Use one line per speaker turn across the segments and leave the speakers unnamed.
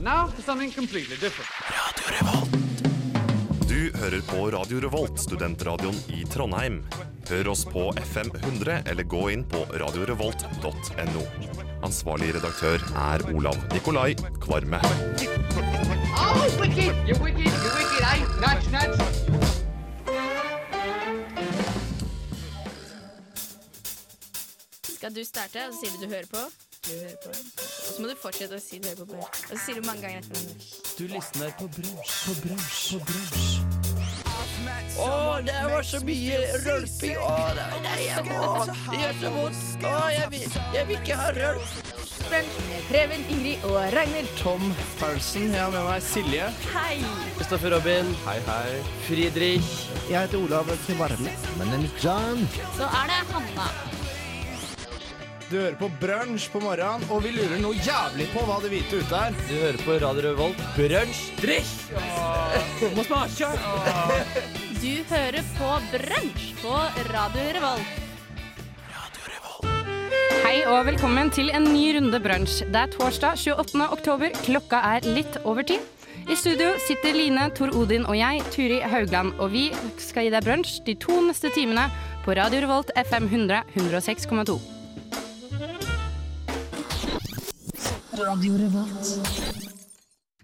Now for something completely different.
Du hører på Radio Revolt, studentradioen i Trondheim. Hør oss på FM 100 eller gå inn på radiorevolt.no. Ansvarlig redaktør er Olav Nikolai Kvarme.
Oh, wicked! You wicked! You wicked! eh? I nuts, nuts.
Skal du starte, og så sier du du hører på. Du hører på. Og så må du fortsette å si du hører på. på. Og så sier du mange ganger etter hverandre.
Du lysner på brunsj, på brunsj, på brunsj. Å, det var så mye rølping. Å, det nei, jeg må. Det gjør så vondt. Å, jeg vil, jeg vil ikke ha rølp.
Preben, Ingrid og Ragnhild.
Tom Paulsen. Jeg har med meg Silje. Hei. Kristoffer Robin. Hei, hei. Friedrich. Jeg heter Olav Kvarme.
Så er det Hanna.
Du hører på brunsj på morgenen, og vi lurer noe jævlig på hva det hvite ute er. Du hører på Radio Revolt. Brunsj, drikk! Må smake!
Du hører på Brunsj på Radio Revolt.
Hei og velkommen til en ny runde brunsj. Det er torsdag 28. oktober. Klokka er litt over ti. I studio sitter Line, Tor Odin og jeg, Turi Haugland, og vi skal gi deg brunsj de to neste timene på Radio Revolt FM 100 106,2.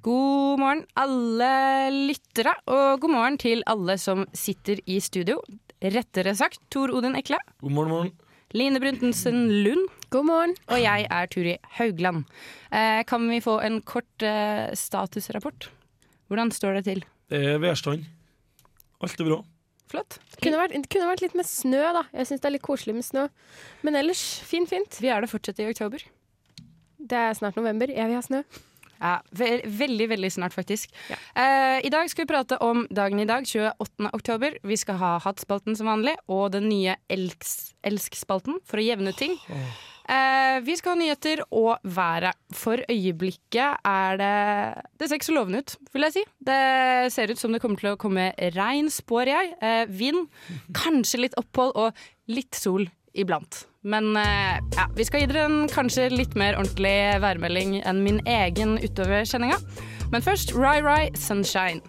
God morgen, alle lyttere, og god morgen til alle som sitter i studio. Rettere sagt, Tor Odin Ekle.
God morgen, morgen.
Line Bruntensen Lund. God morgen. Og jeg er Turi Haugland. Eh, kan vi få en kort eh, statusrapport? Hvordan står det til?
Det er værstand. Alt er bra.
Flott.
Kunne vært, det kunne vært litt med snø, da. Jeg syns det er litt koselig med snø. Men ellers, fint, fint.
Vi er det fortsatt i oktober.
Det er snart november. Jeg vil ha snø.
Ja, ve veldig, veldig snart, faktisk. Eh, I dag skal vi prate om dagen i dag, 28. oktober. Vi skal ha Hattspalten som vanlig, og den nye Elks- Elsk-spalten for å jevne ut ting. Eh, vi skal ha nyheter og været. For øyeblikket er det Det ser ikke så lovende ut, vil jeg si. Det ser ut som det kommer til å komme regn, spår jeg. Eh, vind. Kanskje litt opphold og litt sol iblant. Men eh, ja, vi skal gi dere en kanskje litt mer ordentlig værmelding enn min egen utover sendinga. Men først Rai Rai Sunshine.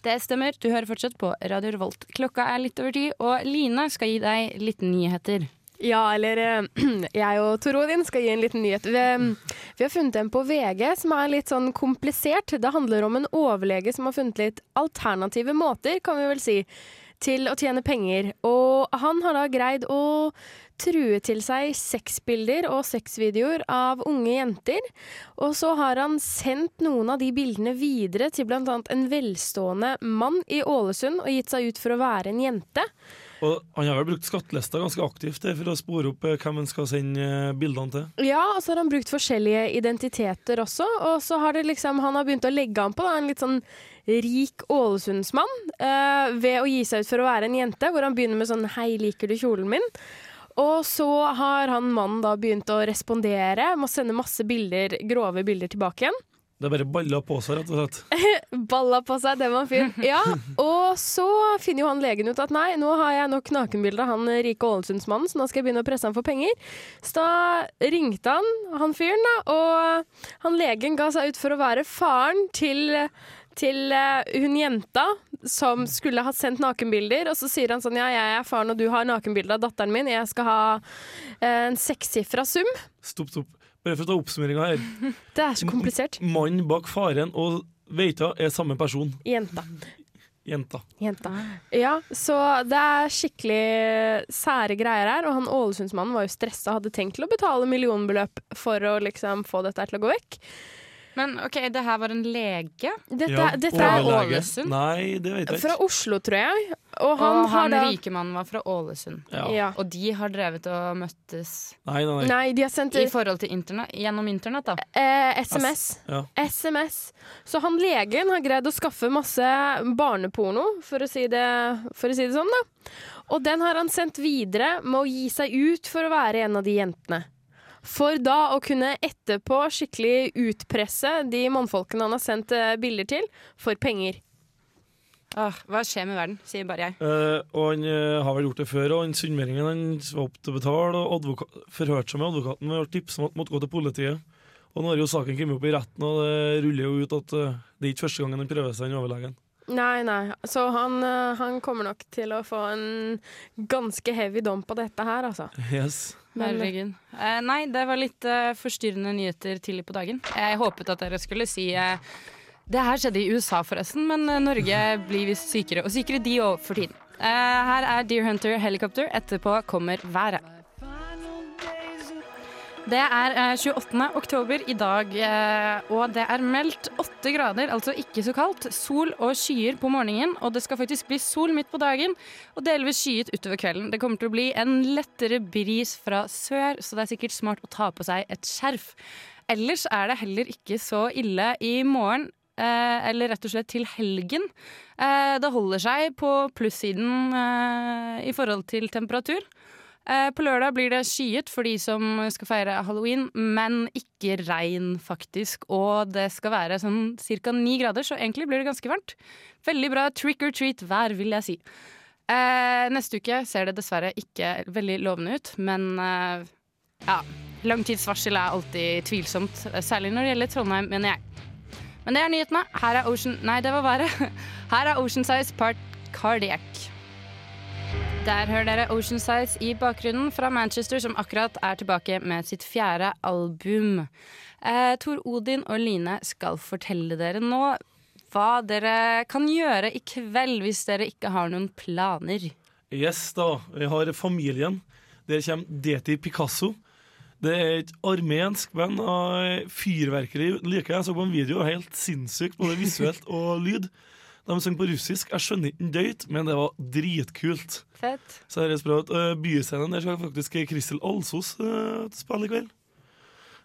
Det stemmer, du hører fortsatt på Radio Revolt. Klokka er litt over ti, og Line skal gi deg litt nyheter.
Ja, eller eh, jeg og Tor Odin skal gi en liten nyhet. Vi, eh, vi har funnet en på VG som er litt sånn komplisert. Det handler om en overlege som har funnet litt alternative måter, kan vi vel si, til å tjene penger. Og han har da greid å true til seg sexbilder og sexvideoer av unge jenter. Og så har han sendt noen av de bildene videre til bl.a. en velstående mann i Ålesund og gitt seg ut for å være en jente.
Og han har vel brukt skattelista ganske aktivt det, for å spore opp eh, hvem han skal sende eh, bildene til.
Ja, og så har han brukt forskjellige identiteter også. Og så har det liksom, han har begynt å legge an på da, en litt sånn rik Ålesundsmann eh, ved å gi seg ut for å være en jente, hvor han begynner med sånn 'hei, liker du kjolen min?' Og så har han mannen da begynt å respondere med å sende masse bilder, grove bilder tilbake igjen.
Det er bare baller på seg, rett og slett.
Balla på seg, den var fin. Ja, og så finner jo han legen ut at nei, nå har jeg nok nakenbilder av han rike Ålesundsmannen, så nå skal jeg begynne å presse han for penger. Så da ringte han han fyren, da, og han legen ga seg ut for å være faren til til eh, hun jenta som skulle ha sendt nakenbilder. Og så sier han sånn ja, jeg er faren og du har nakenbilde av datteren min, jeg skal ha eh, en sekssifra sum.
Stopp, stopp. Bare for å ta oppsummeringa her.
Det er så komplisert.
Mannen bak faren og veita er samme person.
Jenta.
Jenta.
Jenta. Ja, så det er skikkelig sære greier her. Og han Ålesundsmannen var jo stressa og hadde tenkt til å betale millionbeløp for å liksom få dette her til å gå vekk.
Men OK, det her var en lege.
Dette,
Ja,
dette er
overlege.
Ålesund?
Nei, det vet jeg
fra
ikke.
Oslo, tror jeg. Og han,
og han
har da
rike mannen var fra Ålesund.
Ja.
ja.
Og de har drevet og møttes
Nei, nei, nei.
Nei, de har sendt
i
eh,
forhold til internett, gjennom internett, da.
SMS.
Ja.
SMS. Så han legen har greid å skaffe masse barneporno, for å si det, for å si det sånn, da. Og den har han sendt videre med å gi seg ut for å være en av de jentene. For da å kunne etterpå skikkelig utpresse de mannfolkene han har sendt eh, bilder til, for penger.
Åh, hva skjer med verden, sier bare jeg.
Eh, og han eh, har vel gjort det før, og han sunnmøringen han var opp til å betale, og advoka- forhørte seg med advokaten og tips om at han måtte gå til politiet. Og nå har jo saken kommet opp i retten, og det ruller jo ut at eh, det er ikke første gangen han prøver seg, den overlegen.
Nei, nei. Så han, eh, han kommer nok til å få en ganske heavy dom på dette her, altså.
Yes.
Men-
Herregud. Eh, nei, det var litt eh, forstyrrende nyheter tidlig på dagen. Jeg håpet at dere skulle si eh, Det her skjedde i USA, forresten, men eh, Norge blir visst sykere og sykere, de òg, for tiden. Eh, her er Deer Hunter Helicopter. Etterpå kommer været. Det er eh, 28. oktober i dag, eh, og det er meldt åtte grader, altså ikke så kaldt. Sol og skyer på morgenen, og det skal faktisk bli sol midt på dagen og delvis skyet utover kvelden. Det kommer til å bli en lettere bris fra sør, så det er sikkert smart å ta på seg et skjerf. Ellers er det heller ikke så ille i morgen. Eh, eller rett og slett til helgen. Eh, det holder seg på plussiden eh, i forhold til temperatur. Eh, på lørdag blir det skyet for de som skal feire halloween, men ikke regn, faktisk. Og det skal være sånn ca. ni grader, så egentlig blir det ganske varmt. Veldig bra trick or treat-vær, vil jeg si. Eh, neste uke ser det dessverre ikke veldig lovende ut, men eh, ja. Langtidsvarsel er alltid tvilsomt, særlig når det gjelder Trondheim, mener jeg. Men det er nyhetene. Her er Ocean Nei, det var været. Her er Ocean Size Part Cardiac. Der hører dere Ocean Size i bakgrunnen fra Manchester, som akkurat er tilbake med sitt fjerde album. Eh, Tor Odin og Line skal fortelle dere nå hva dere kan gjøre i kveld hvis dere ikke har noen planer.
Yes da, vi har Familien. Der kommer DT Picasso. Det er et armensk band av fyrverkeri. Liker jeg så på en video, helt sinnssykt både visuelt og lyd. De sang på russisk. Jeg skjønner ikke en døyt, men det var dritkult.
Fett.
Så her er bra ut. Eh, Byscenen der skal faktisk Kristel Alsos eh, spille i kveld.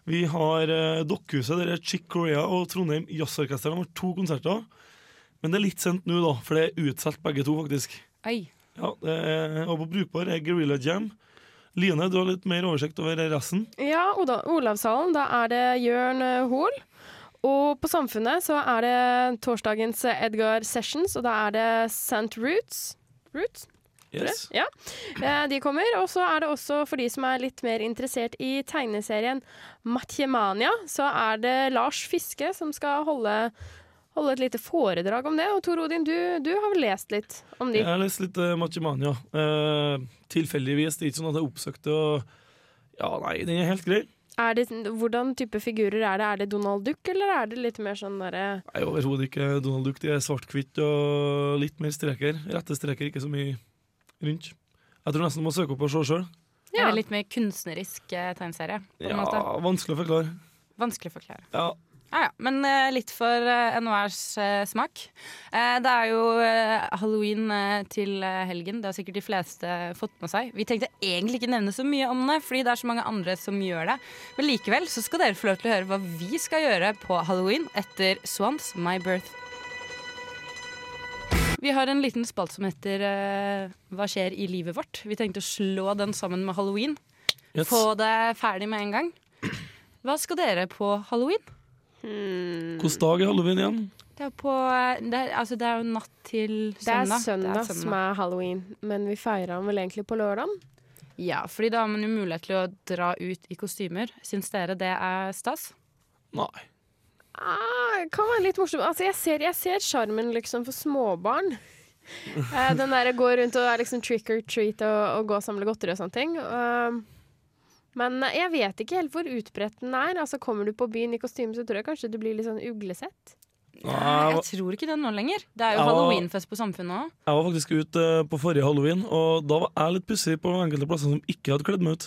Vi har eh, Dokkhuset, der er Chick Corea og Trondheim Jazzorkester. De har to konserter. Men det er litt sent nå, da, for det er utsolgt begge to, faktisk.
Oi.
Ja, det er, og på brukbar er Guerrilla Jam. Line, du har litt mer oversikt over resten.
Ja, Oda- Olavshallen, da er det Jørn eh, Hoel. Og på Samfunnet så er det torsdagens eh, Edgar Sessions, og da er det St. Roots. Roots? tror jeg.
Yes.
Ja. Eh, De kommer. Og så er det også for de som er litt mer interessert i tegneserien Matjemania, så er det Lars Fiske som skal holde, holde et lite foredrag om det. Og Tor Odin, du, du har vel lest litt om de?
Jeg har lest litt uh, Machimania. Eh, tilfeldigvis. Det er ikke sånn at jeg oppsøkte og Ja, nei, den er helt grei.
Er det, hvordan type figurer er det? Er det Donald Duck, eller er det litt mer sånn derre
Nei, Overhodet ikke Donald Duck. De er svart-hvitt og litt mer streker. Rette streker, ikke så mye rundt. Jeg tror nesten du må søke opp og se sjøl.
Ja.
Ja.
Det er litt mer kunstnerisk eh, tegneserie. På en
Ja,
måte.
vanskelig å forklare.
Vanskelig å forklare.
Ja,
Ja, ja. Men eh, litt for eh, NHRs eh, smak. Eh, det er jo eh, halloween eh, til eh, helgen. Det har sikkert de fleste eh, fått med seg. Vi tenkte egentlig ikke nevne så mye om det, fordi det er så mange andre som gjør det. Men likevel så skal dere få lov til å høre hva vi skal gjøre på halloween etter Swans My Birth. Vi har en liten spalt som heter eh, Hva skjer i livet vårt? Vi tenkte å slå den sammen med halloween.
yes.
Få det ferdig med en gang. Hva skal dere på halloween?
Hvilken dag er halloween igjen?
Det er, på, det, er, altså det er jo natt til
Det er
søndag.
søndag som er halloween, men vi feirer den vel egentlig på lørdag?
Ja, fordi da har man jo mulighet til å dra ut i kostymer. Syns dere det er stas?
Nei.
Ah, det kan være litt morsomt. Altså, jeg ser- jeg ser sjarmen liksom for småbarn. Eh, den der går rundt og er liksom trick or treat og, og gå og samle godteri og sånne ting. Um, men jeg vet ikke helt hvor utbredt den er. Altså, kommer du på byen i kostyme, så tror jeg kanskje du blir litt sånn uglesett.
Nei,
jeg tror ikke det nå lenger. Det er jo
Ja.
halloweenfest på Samfunnet òg.
Jeg var faktisk ute eh, på forrige halloween, og da var jeg litt pussig på enkelte plasser som ikke hadde kledd meg ut.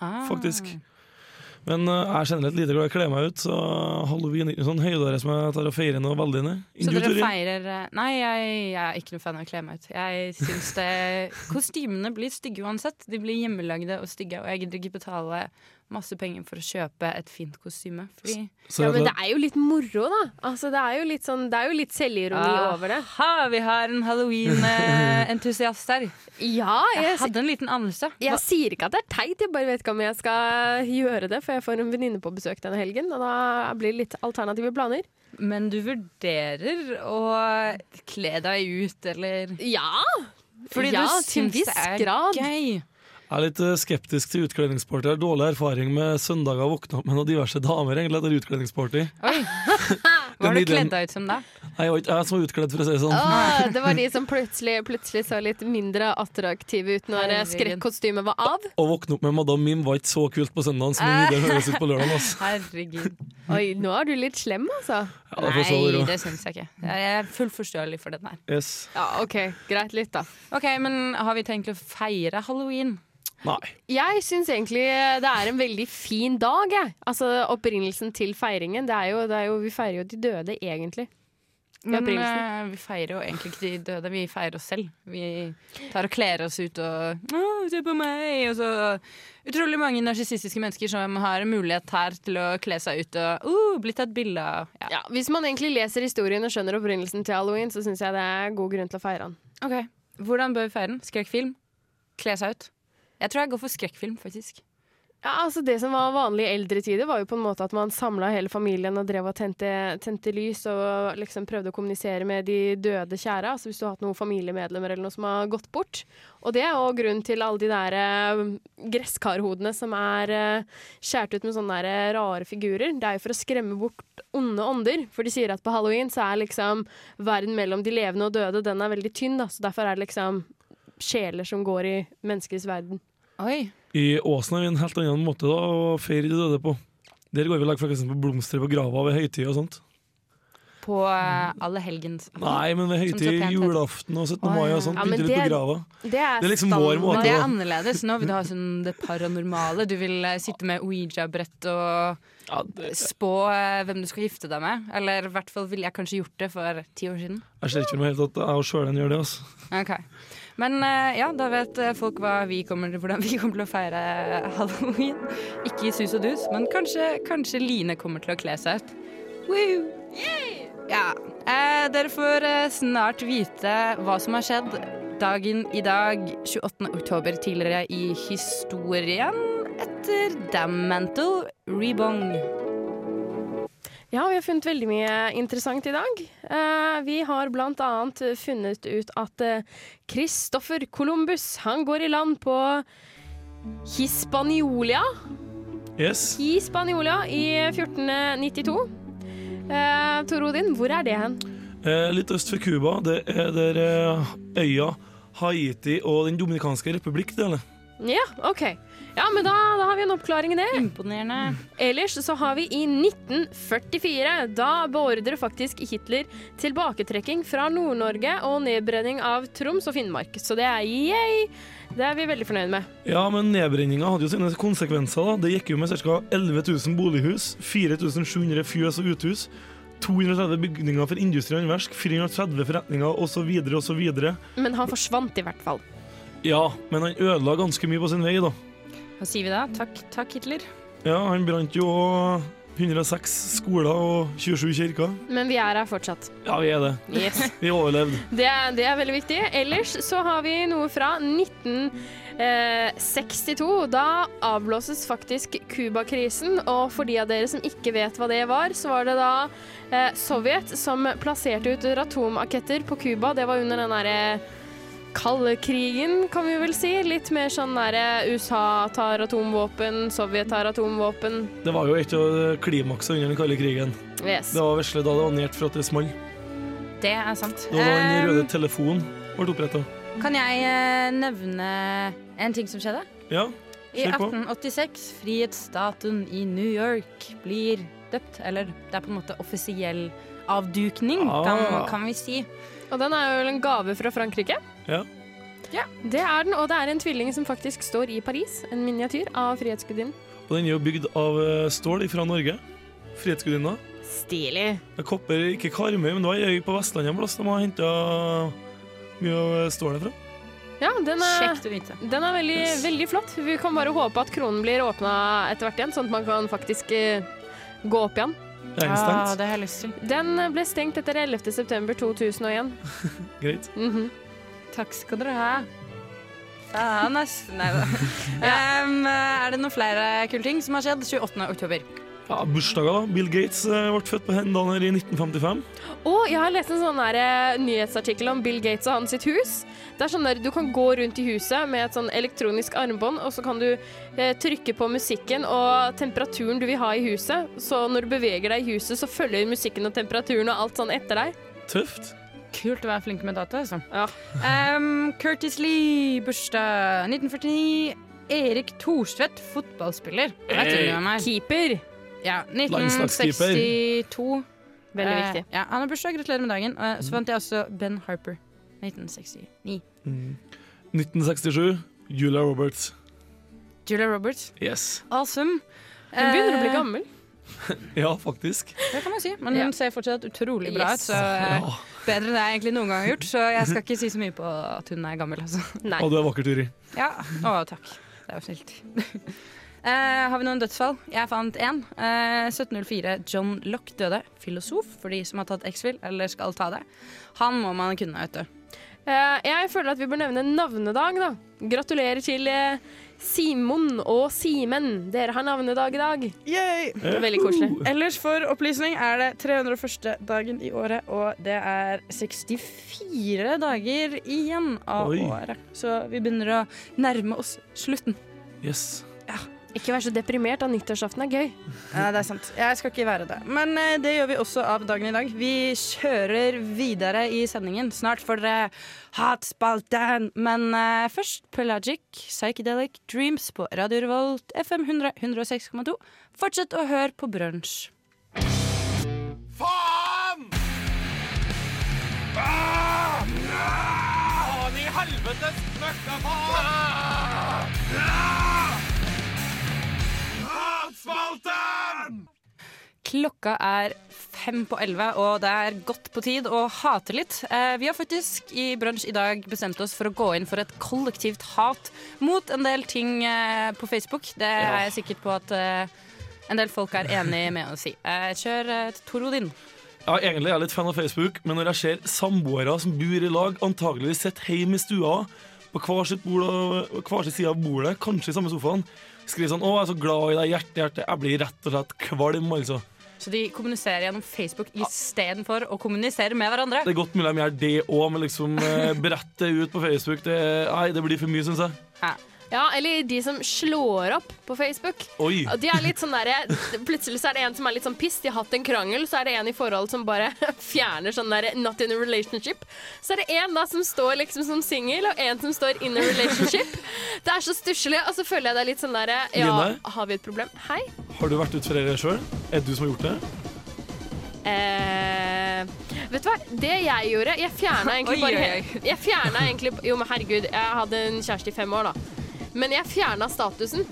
Ah.
Faktisk. Men eh, jeg er generelt lite glad i å kle meg ut, så halloween er ikke noe sånn høydare som jeg tar og feirer noe veldig ned.
Så dere
Individuelt.
feirer eh, Nei, jeg, jeg er ikke noe fan av å kle meg ut. Jeg syns det Kostymene blir stygge uansett. De blir hjemmelagde og stygge, og jeg gidder ikke betale masse penger for å kjøpe et fint kostyme. Fordi
Så
Ja,
jeg
men det
tror-
er jo litt moro, da. Altså, det er jo litt, sånn, det er jo litt selvironi over det.
Aha, vi har en halloween-entusiast her.
Ja,
Jeg
jeg,
hadde en liten anelse.
jeg sier ikke at det er teit, jeg bare vet ikke om jeg skal gjøre det, for jeg får en venninne på besøk denne helgen, og da blir det litt alternative planer.
Men du vurderer å kle deg ut, eller
Ja!
Fordi
ja,
du
til en
syns
viss
det er
grad.
gøy.
Jeg er litt eh, skeptisk til utkledningsparty. Jeg har dårlig erfaring med søndager å våkne opp med noen diverse damer egentlig etter utkledningsparty.
Oi. Hva har du
Den ideen-
kledd deg ut som da?
Nei, jeg var ikke jeg som var utkledd, for å si det sånn.
Åh, det var de som plutselig, plutselig så litt mindre attraktive ut når eh,
Herregud.
skrekkostymet var av.
Å våkne opp med Madame Mim var ikke så kult på søndagen som mye det høres ut på lørdagen. Altså.
Herregud.
Oi, nå er du litt slem, altså.
Ja, det får så
Nei,
være.
det syns jeg ikke. Jeg er fullt forståelig for den her.
yes.
Ja, OK, greit litt, da.
Ok, Men har vi tenkt å feire halloween?
Nei.
Jeg syns egentlig det er en veldig fin dag, jeg. Altså opprinnelsen til feiringen. Det er jo, det er jo, vi feirer jo de døde, egentlig.
Men
opprinnelsen.
eh, vi feirer jo egentlig ikke de døde, vi feirer oss selv. Vi tar og kler oss ut og Å, se på meg! Og så utrolig mange narsissistiske mennesker som har en mulighet her til å kle seg ut og uh, bli tatt bilde av. Ja.
Ja, hvis man egentlig leser historien og skjønner opprinnelsen til halloween, så syns jeg det er god grunn til å feire den.
Ok, Hvordan bør vi feire den? Skrekkfilm? Kle seg ut? Jeg tror jeg går for skrekkfilm, faktisk.
Ja, altså Det som var vanlig i eldre tider, var jo på en måte at man samla hele familien og drev og tente, tente lys og liksom prøvde å kommunisere med de døde kjære. Altså Hvis du har hatt noen familiemedlemmer eller noe som har gått bort. Og det er òg grunnen til alle de der eh, gresskarhodene som er eh, skjært ut med sånne der eh, rare figurer. Det er jo for å skremme bort onde ånder. For de sier at på halloween så er liksom verden mellom de levende og døde den er veldig tynn. da, Så derfor er det liksom sjeler som går i menneskets verden.
Oi,
I Åsen har vi en helt annen måte da, å feire de døde på. Der går vi og legger flakkasen på blomster på grava ved høytid og sånt.
På eh, alle helgens
Nei, men
Som så
ved høytid,
pent heter.
julaften og 17. mai og sånt.
Ja, men
Pynter litt på
det-
grava.
Det er,
Det er liksom vår
standard.
måte
Men det er annerledes. Nå vil du ha sånn det paranormale. Du vil eh, sitte med ouija-brett og
Ja, det,
spå eh, hvem du skal gifte deg med. Eller i hvert fall ville jeg kanskje gjort det for ti år siden.
jeg ser ikke for meg helt at jeg og sjølen gjør det. Altså.
Ok. Men eh, ja, da vet eh, folk hva vi kommer, til- hvordan vi kommer til å feire halloween. Ikke i sus og dus, men kanskje, kanskje Line kommer til å kle seg ut. Woo! Ja. Eh, dere får eh, snart vite hva som har skjedd dagen i dag, 28. oktober, tidligere i historien etter Dammantle Rebong.
Ja, vi har funnet veldig mye interessant i dag. Eh, vi har blant annet funnet ut at Kristoffer Columbus, han går i land på Hispaniolia.
Yes.
Hispaniola i 1492. Eh, Tor Odin, hvor er det hen?
Eh, litt øst for Cuba. Det er der eh, øya Haiti og Den dominikanske republikk deler.
Ja, OK. Ja, men da, da har vi en oppklaring i det.
Imponerende.
Ellers så har vi i 1944. Da beordrer faktisk Hitler tilbaketrekking fra Nord-Norge og nedbrenning av Troms og Finnmark. Så det er yay! Det er vi veldig fornøyd med.
Ja, men nedbrenninga hadde jo sine konsekvenser. da. Det gikk jo med ca. 11 000 bolighus, 4700 fjøs og uthus, 230 bygninger for industri og håndverk, 430 forretninger osv. osv.
Men han forsvant i hvert fall.
Ja, men han ødela ganske mye på sin vei, da.
Hva sier vi da? Takk, takk Hitler.
Ja, han brant jo 106 skoler og 27 kirker.
Men vi er her fortsatt.
Ja, vi er det. Vi overlevde.
Det er, det er veldig viktig. Ellers så har vi noe fra 1962. Da avblåses faktisk Cuba-krisen, og for de av dere som ikke vet hva det var, så var det da eh, Sovjet som plasserte ut ratomraketter på Cuba. Det var under den derre kalde krigen, kan vi vel si. Litt mer sånn derre USA tar atomvåpen, Sovjet tar atomvåpen.
Det var jo et av klimaksene under den kalde krigen.
Yes.
Det var vesle da det var nært for at det smalt.
Det er sant.
Det var da den
Eh,
røde telefonen ble oppretta.
Kan jeg eh, nevne en ting som skjedde?
Ja,
I
Kjør på.
1886, frihetsstatuen i New York blir døpt, eller det er på en måte offisiell avdukning,
Ah.
kan, kan vi si.
Og den er jo vel en gave fra Frankrike?
Ja.
Ja.
Det er den, og det er en tvilling som faktisk står i Paris. En miniatyr av Frihetsgudinnen.
og den er jo bygd av eh, stål fra Norge. Frihetsgudinna.
Stilig.
Det er Kopper, eh, ikke Karmøy, men det var ei øy på Vestlandet en plass de har henta mye av eh, stålet fra.
Ja, den er,
Kjekt å vite.
den er veldig, veldig flott. Vi kan bare håpe at kronen blir åpna etter hvert igjen, sånn at man kan faktisk eh, gå opp igjen.
Jeg er
Ja,
stengt.
Ah, det har jeg lyst til.
Den ble stengt etter 11. september 2001.
Greit.
Mhm.
Takk skal dere ha. Faen, ass. Nei da. Em, er det noen flere kule ting som har skjedd 28. oktober?
Ja, bursdager, da. Bill Gates eh, ble født på Hendan her i 1955.
Og jeg har lest en sånn der, eh, nyhetsartikkel om Bill Gates og hans sitt hus. Det er sånn der, Du kan gå rundt i huset med et sånn elektronisk armbånd, og så kan du eh, trykke på musikken og temperaturen du vil ha i huset. Så når du beveger deg i huset, så følger musikken og temperaturen og alt sånn etter deg.
Tøft.
Kult å være flink med data, altså.
Ja.
Em, Curtis Lee, bursdag 1949. Erik Thorstvedt, fotballspiller. Det vet du hvem er.
Keeper.
Ja,
Landslagskeeper.
1962.
Veldig
Eh,
viktig.
Ja, han har bursdag, gratulerer med dagen. Og så fant jeg også Ben Harper. 1969.
1967. Mm. Julia Roberts.
Julia Roberts.
Yes.
Awesome.
Hun begynner å bli
Eh,
gammel.
Ja, faktisk.
Det kan man si, men
Ja.
hun ser fortsatt utrolig bra ut.
Yes.
Så eh,
Ja.
Bedre enn jeg egentlig noen gang har gjort, så jeg skal ikke si så mye på at hun er gammel. Altså.
Nei.
Og du er vakker, Turi.
Ja, Å, takk. Det er jo snilt. Eh, har vi noen dødsfall? Jeg fant én. Eh, 1704. John Lock døde. Filosof, for de som har tatt X-Fill, eller skal ta det. Han må man kunne, vet du.
Eh, jeg føler at vi bør nevne navnedag, da. Gratulerer til eh, Simon og Simen. Dere har navnedag i dag. Veldig koselig.
Uh.
Ellers for opplysning er det 301. dagen i året, og det er 64 dager igjen av
Oi.
året. Så vi begynner å nærme oss slutten.
Yes.
Ikke vær så deprimert, da. Nyttårsaften er gøy.
Ja, det er sant. Jeg skal ikke være det. Men eh, det gjør vi også av dagen i dag. Vi kjører videre i sendingen. Snart får dere Hatspalten! Men eh, først Pelagic, Psychedelic Dreams på Radio Revolt FM 100 106,2. Fortsett å høre på Brunsj.
Faen! Faen i helvetes møkka faen! Hatsvalten!
Klokka er fem på elleve, og det er godt på tid å hate litt. Eh, vi har faktisk i Brunsj i dag bestemt oss for å gå inn for et kollektivt hat mot en del ting eh, på Facebook. Det er jeg sikker på at eh, en del folk er enig med oss i. Eh, kjør eh, Tor Odin.
Ja, egentlig er jeg litt fan av Facebook, men når jeg ser samboere som bor i lag, antageligvis sitter hjemme i stua, på hver sitt bord og- og hver sin side av bordet, kanskje i samme sofaen, skriver sånn 'Å, jeg er så glad i deg, hjerte, hjerte'. Jeg blir rett og slett kvalm, altså.
Så de kommuniserer gjennom Facebook istedenfor å kommunisere med hverandre.
Det er godt mulig de gjør det òg, men liksom eh, brett det ut på Facebook, det, nei, det blir for mye, syns jeg.
Ja, eller de som slår opp på Facebook.
Oi.
Og De er litt sånn der, Plutselig så er det en som er litt sånn piss, de har hatt en krangel, så er det en i forhold som bare fjerner sånn der 'not in a relationship'. Så er det en da som står liksom som singel, og en som står in a relationship. Det er så stusslig, og så føler jeg det er litt sånn derre Ja,
Line?
har vi et problem? Hei?
Har du vært ute for det sjøl? Er det du som har gjort det?
Eh, vet du hva, det jeg gjorde Jeg fjerna egentlig
Oi,
bare
oi, oi.
Jeg fjerna egentlig Jo, men herregud, jeg hadde en kjæreste i fem år, da. Men jeg fjerna statusen.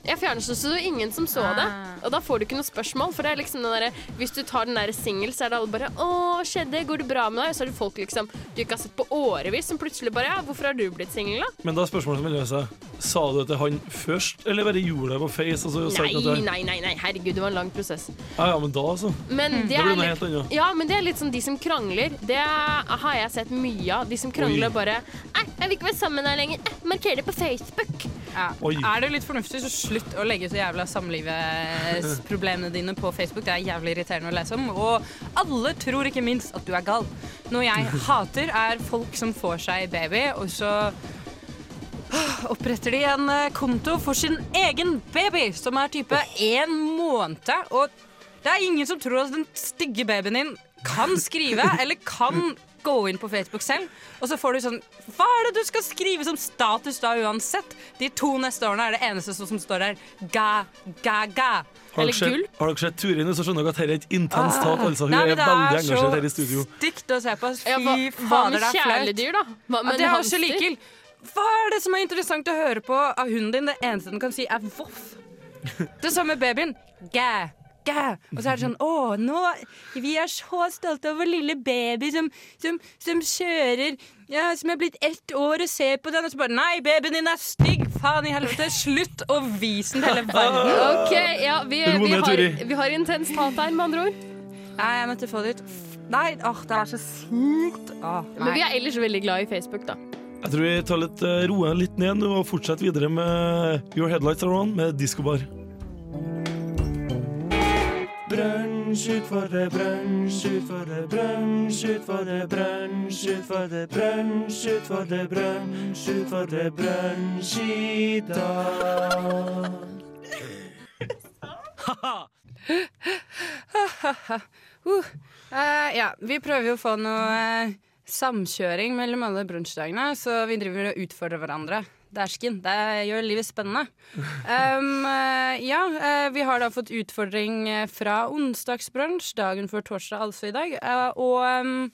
Jeg fjerna så det var ingen som så det.
Ah.
Og da får du ikke noe spørsmål. For det er liksom den derre hvis du tar den der singel, så er det alle bare 'Å, skjedde? Går det bra med deg?' Og så er det folk liksom du ikke har sett på årevis, som plutselig bare 'Ja, hvorfor har du blitt singel, da?'
Men da er spørsmålet som melder seg, sa du det til han først, eller bare gjorde det på Face? Og så sa
Nei,
du ikke at det-
nei, nei, nei, herregud, det var en lang prosess.
ja, ja, men da, altså.
Men
Da
det
blir
er
det noe
litt
helt annet.
Ja, men det er litt sånn de som krangler. Det har jeg sett mye av. De som krangler
Oi.
og bare Nei, jeg vil ikke være sammen med deg lenger. Eh, Marker det på Facebook.
Ja.
Oi.
Er det litt fornuftig, så slutt å legge så jævla samlivsproblemene dine på Facebook. Det er jævlig irriterende å lese om. Og alle tror ikke minst at du er gal. Noe jeg hater, er folk som får seg baby, og så oppretter de en eh, konto for sin egen baby, som er type én måned. Og det er ingen som tror at den stygge babyen din kan skrive, eller kan gå inn på Facebook selv. Og så får du sånn Hva er det du skal skrive som status da uansett? De to neste årene er det eneste som som står der, ga, ga, ga.
Har dere
Eller
sett-
gull. Ah.
Har dere sett Turin, så skjønner dere at dette er et intenst hat. Altså. Hun
Nei, men
er
det
veldig
er så
engasjert her i studio.
stygt å se på. Fy
Ja, hva, hva
fader,
med
det er flaut.
kjæledyr, da? Hva
Ja,
med
det er
hamster?
også likegyldig. Hva er det som er interessant å høre på av hunden din? Det eneste den kan si, er voff. Det samme med babyen. Gæ, ikke! Og så er det sånn Å, nå Vi er så stolte over lille baby som, som, som kjører ja, Som er blitt ett år, og ser på den, og så bare Nei, babyen din er stygg! Faen i helvete! Slutt å vise den til hele verden!
Ok, ja, vi,
Ro
vi,
ned,
har,
Turi.
vi har intenst hat her, med andre ord.
Nei, jeg måtte få det ut. Nei, åh, det er så sykt! Åh,
Men vi
nei.
er ellers veldig glad i Facebook, da.
Jeg tror vi tar litt, eh, roer litt ned nå og fortsetter videre med Your Headlights Are On med diskobar. Brunsj utfor det, brunsj utfor det, brunsj utfor det, brunsj utfor det, brunsj utfor det, brunsj utfor det, brunsj i dag.
Eh, ja, vi prøver jo å få noe eh, samkjøring mellom alle brunsjdagene, så vi driver og utfordrer hverandre. Dæsken. Det gjør livet spennende. Um, eh, ja, eh, vi har da fått utfordring eh, fra onsdagsbrunsj, dagen før torsdag, altså i dag. Eh, og em,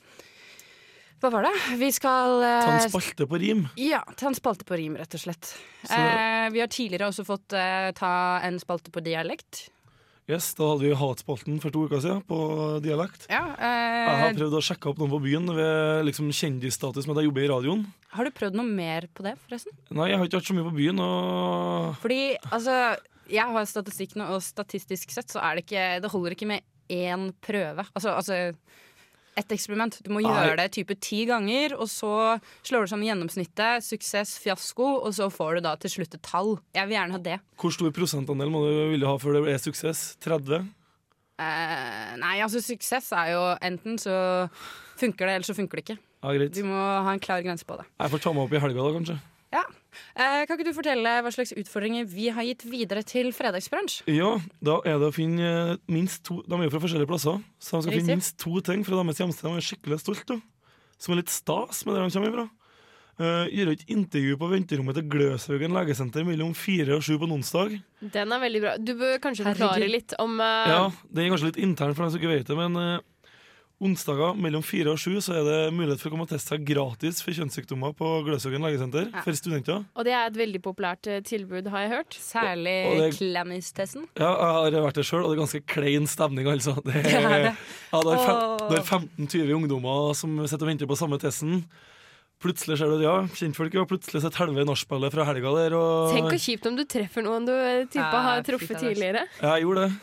hva var det? Vi skal eh,
Ta en spalte på rim.
ja, ta en spalte på rim, rett og slett.
Så-
Eh, vi har tidligere også fått eh, ta en spalte på dialekt.
Yes, da hadde vi hatspalten for to uker siden på dialekt.
Ja,
Jeg
eh,
har prøvd å sjekke opp noen på byen ved liksom kjendisstatus med at jeg jobber i radioen.
har du prøvd noe mer på det, forresten?
Nei, jeg har ikke vært så mye på byen, og
Fordi, altså, jeg har statistikk nå, og statistisk sett så er det ikke Det holder ikke med én prøve. Altså, altså et eksperiment. Du må
Nei.
gjøre det type ti ganger, og så slår du sammen gjennomsnittet, suksess, fiasko, og så får du da til slutt et tall. Jeg vil gjerne ha det.
hvor stor prosentandel må du ville ha før det er suksess? 30?
Eh, nei, altså, suksess er jo enten så funker det, eller så funker det ikke.
Ja, greit.
Du må ha en klar grense på det.
Jeg får ta meg opp i helga da, kanskje.
Ja. Eh, kan ikke du fortelle hva slags utfordringer vi har gitt videre til fredagsbransj?
Ja, da er det å finne eh, minst to De er jo fra forskjellige plasser, så de skal
Riktig.
finne minst to ting fra deres hjemsted de er skikkelig stolt av. Som er litt stas med der de kommer ifra. Eh, gjøre et intervju på venterommet til Gløshaugen legesenter mellom fire og sju på en onsdag.
Den er veldig bra. Du bør kanskje forklare
Herregud.
litt om eh,
Ja, det er kanskje litt intern for dem som ikke vet det, men eh, onsdager mellom fire og sju så er det mulighet for å komme og teste seg gratis for kjønnssykdommer på Gløshaugen legesenter
Ja.
for studenter.
Og det er et veldig populært eh, tilbud, har jeg hørt.
Og- og
Særlig
det-
klemmistesten.
Ja, jeg har vært der sjøl, og det er ganske klein stemning, altså. Det er,
Det er
ja,
det.
det er, fem,
Åh.
det er 15-20 ungdommer som sitter og venter på samme testen. Plutselig ser du ja, kjentfolk, og plutselig sitter halve nachspielet fra helga der. Og
Tenk hvor kjipt om du treffer noen du eh, tippa
Ja,
har
fy
truffet
fader.
tidligere.
Ja, jeg gjorde det.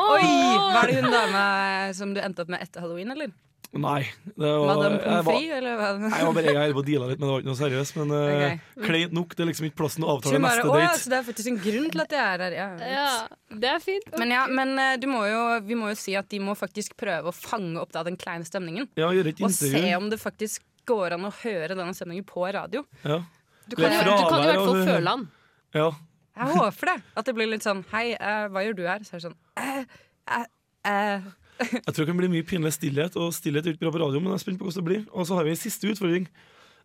Oi! Var det hun dama som du endte opp med etter halloween, eller?
Nei. Det var,
Madame
jeg
Pommes
var,
frites, eller hva?
jeg var bare jeg holdt på å deale litt, men det var ikke noe seriøst. Men eh, kleint nok. Det er liksom ikke plassen å
Så
avtale
hun bare,
neste
Å, ja,
date.
så det er faktisk en grunn til at jeg er her. Ja.
Ja, det er fint.
Men ja, men eh, du må jo, vi må jo si at de må faktisk prøve å fange opp da den kleine stemningen.
Ja, gjøre et
Og se
intervju.
om det faktisk går an å høre denne stemningen på radio.
Ja.
Du kan, jo,
Fra-
du kan jo i hvert
fravær
fall
av-
føle han.
ja.
Jeg håper det. At det blir litt sånn Hei, eh, hva gjør du her? Så er det sånn eh, eh, eh.
Jeg tror det kan bli mye pinlig stillhet, og stillhet er ikke bra på radio, men jeg er spent på hvordan det blir. Og så har vi en siste utfordring.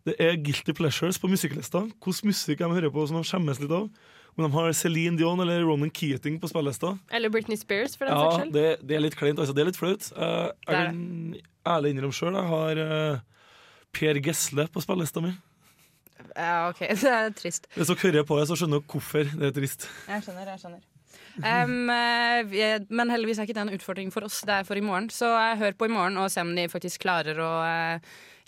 Det er Guilty Pleasures på musikklista. Hvilken musikk de hører på som de skjemmes litt av. Om de har Celine Dion eller Ronan Keating på spillelista.
Eller Britney Spears, for den saks
Ja,
skyld.
det, det er litt kleint, altså. Det er litt flaut. Eh,
Det er
jeg kan ærlig innrømme sjøl, jeg har eh, Per Gessle på spillelista mi.
Ja, OK. Det er trist.
Hvis dere hører på det, så skjønner dere hvorfor det er trist.
Jeg skjønner, jeg skjønner. Em, eh, vi- men heldigvis er ikke det en utfordring for oss, det er for i morgen. Så eh, hør på i morgen og se om de faktisk klarer å eh,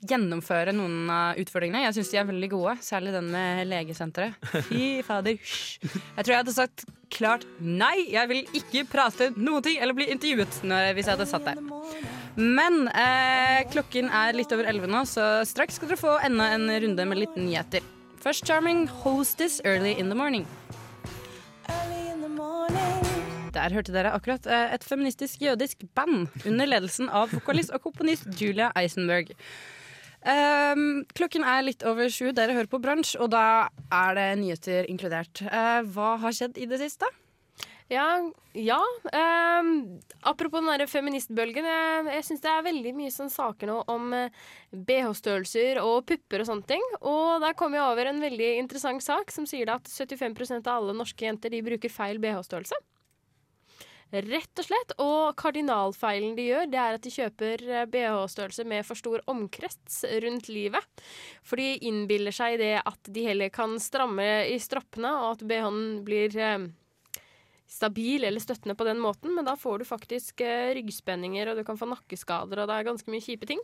gjennomføre noen av utfordringene. Jeg syns de er veldig gode, særlig den med legesenteret. Fy fader. hysj. Jeg tror jeg hadde sagt klart nei, jeg vil ikke prate noen ting eller bli intervjuet når, hvis jeg hadde satt der. Men eh, klokken er litt over elleve nå, så straks skal dere få enda en runde med litt nyheter. First Charming, Hostess Early in the Morning. Der hørte dere akkurat eh, et feministisk jødisk band under ledelsen av vokalist og komponist Julia Eisenberg. Ehm, klokken er litt over sju, dere hører på Bransj, og da er det nyheter inkludert. Eh, hva har skjedd i det siste?
Ja, ja ehm, apropos den der feministbølgen. Jeg, jeg syns det er veldig mye sånn saker nå om eh, BH-størrelser og pupper og sånne ting. Og der kom jeg over en veldig interessant sak som sier det at 75 av alle norske jenter de bruker feil BH-størrelse. Rett og slett. Og kardinalfeilen de gjør, det er at de kjøper eh, BH-størrelse med for stor omkrets rundt livet. For de innbiller seg det at de heller kan stramme i stroppene, og at BH-en blir eh, stabil eller støttende på den måten, men da får du faktisk eh, ryggspenninger, og du kan få nakkeskader, og det er ganske mye kjipe ting.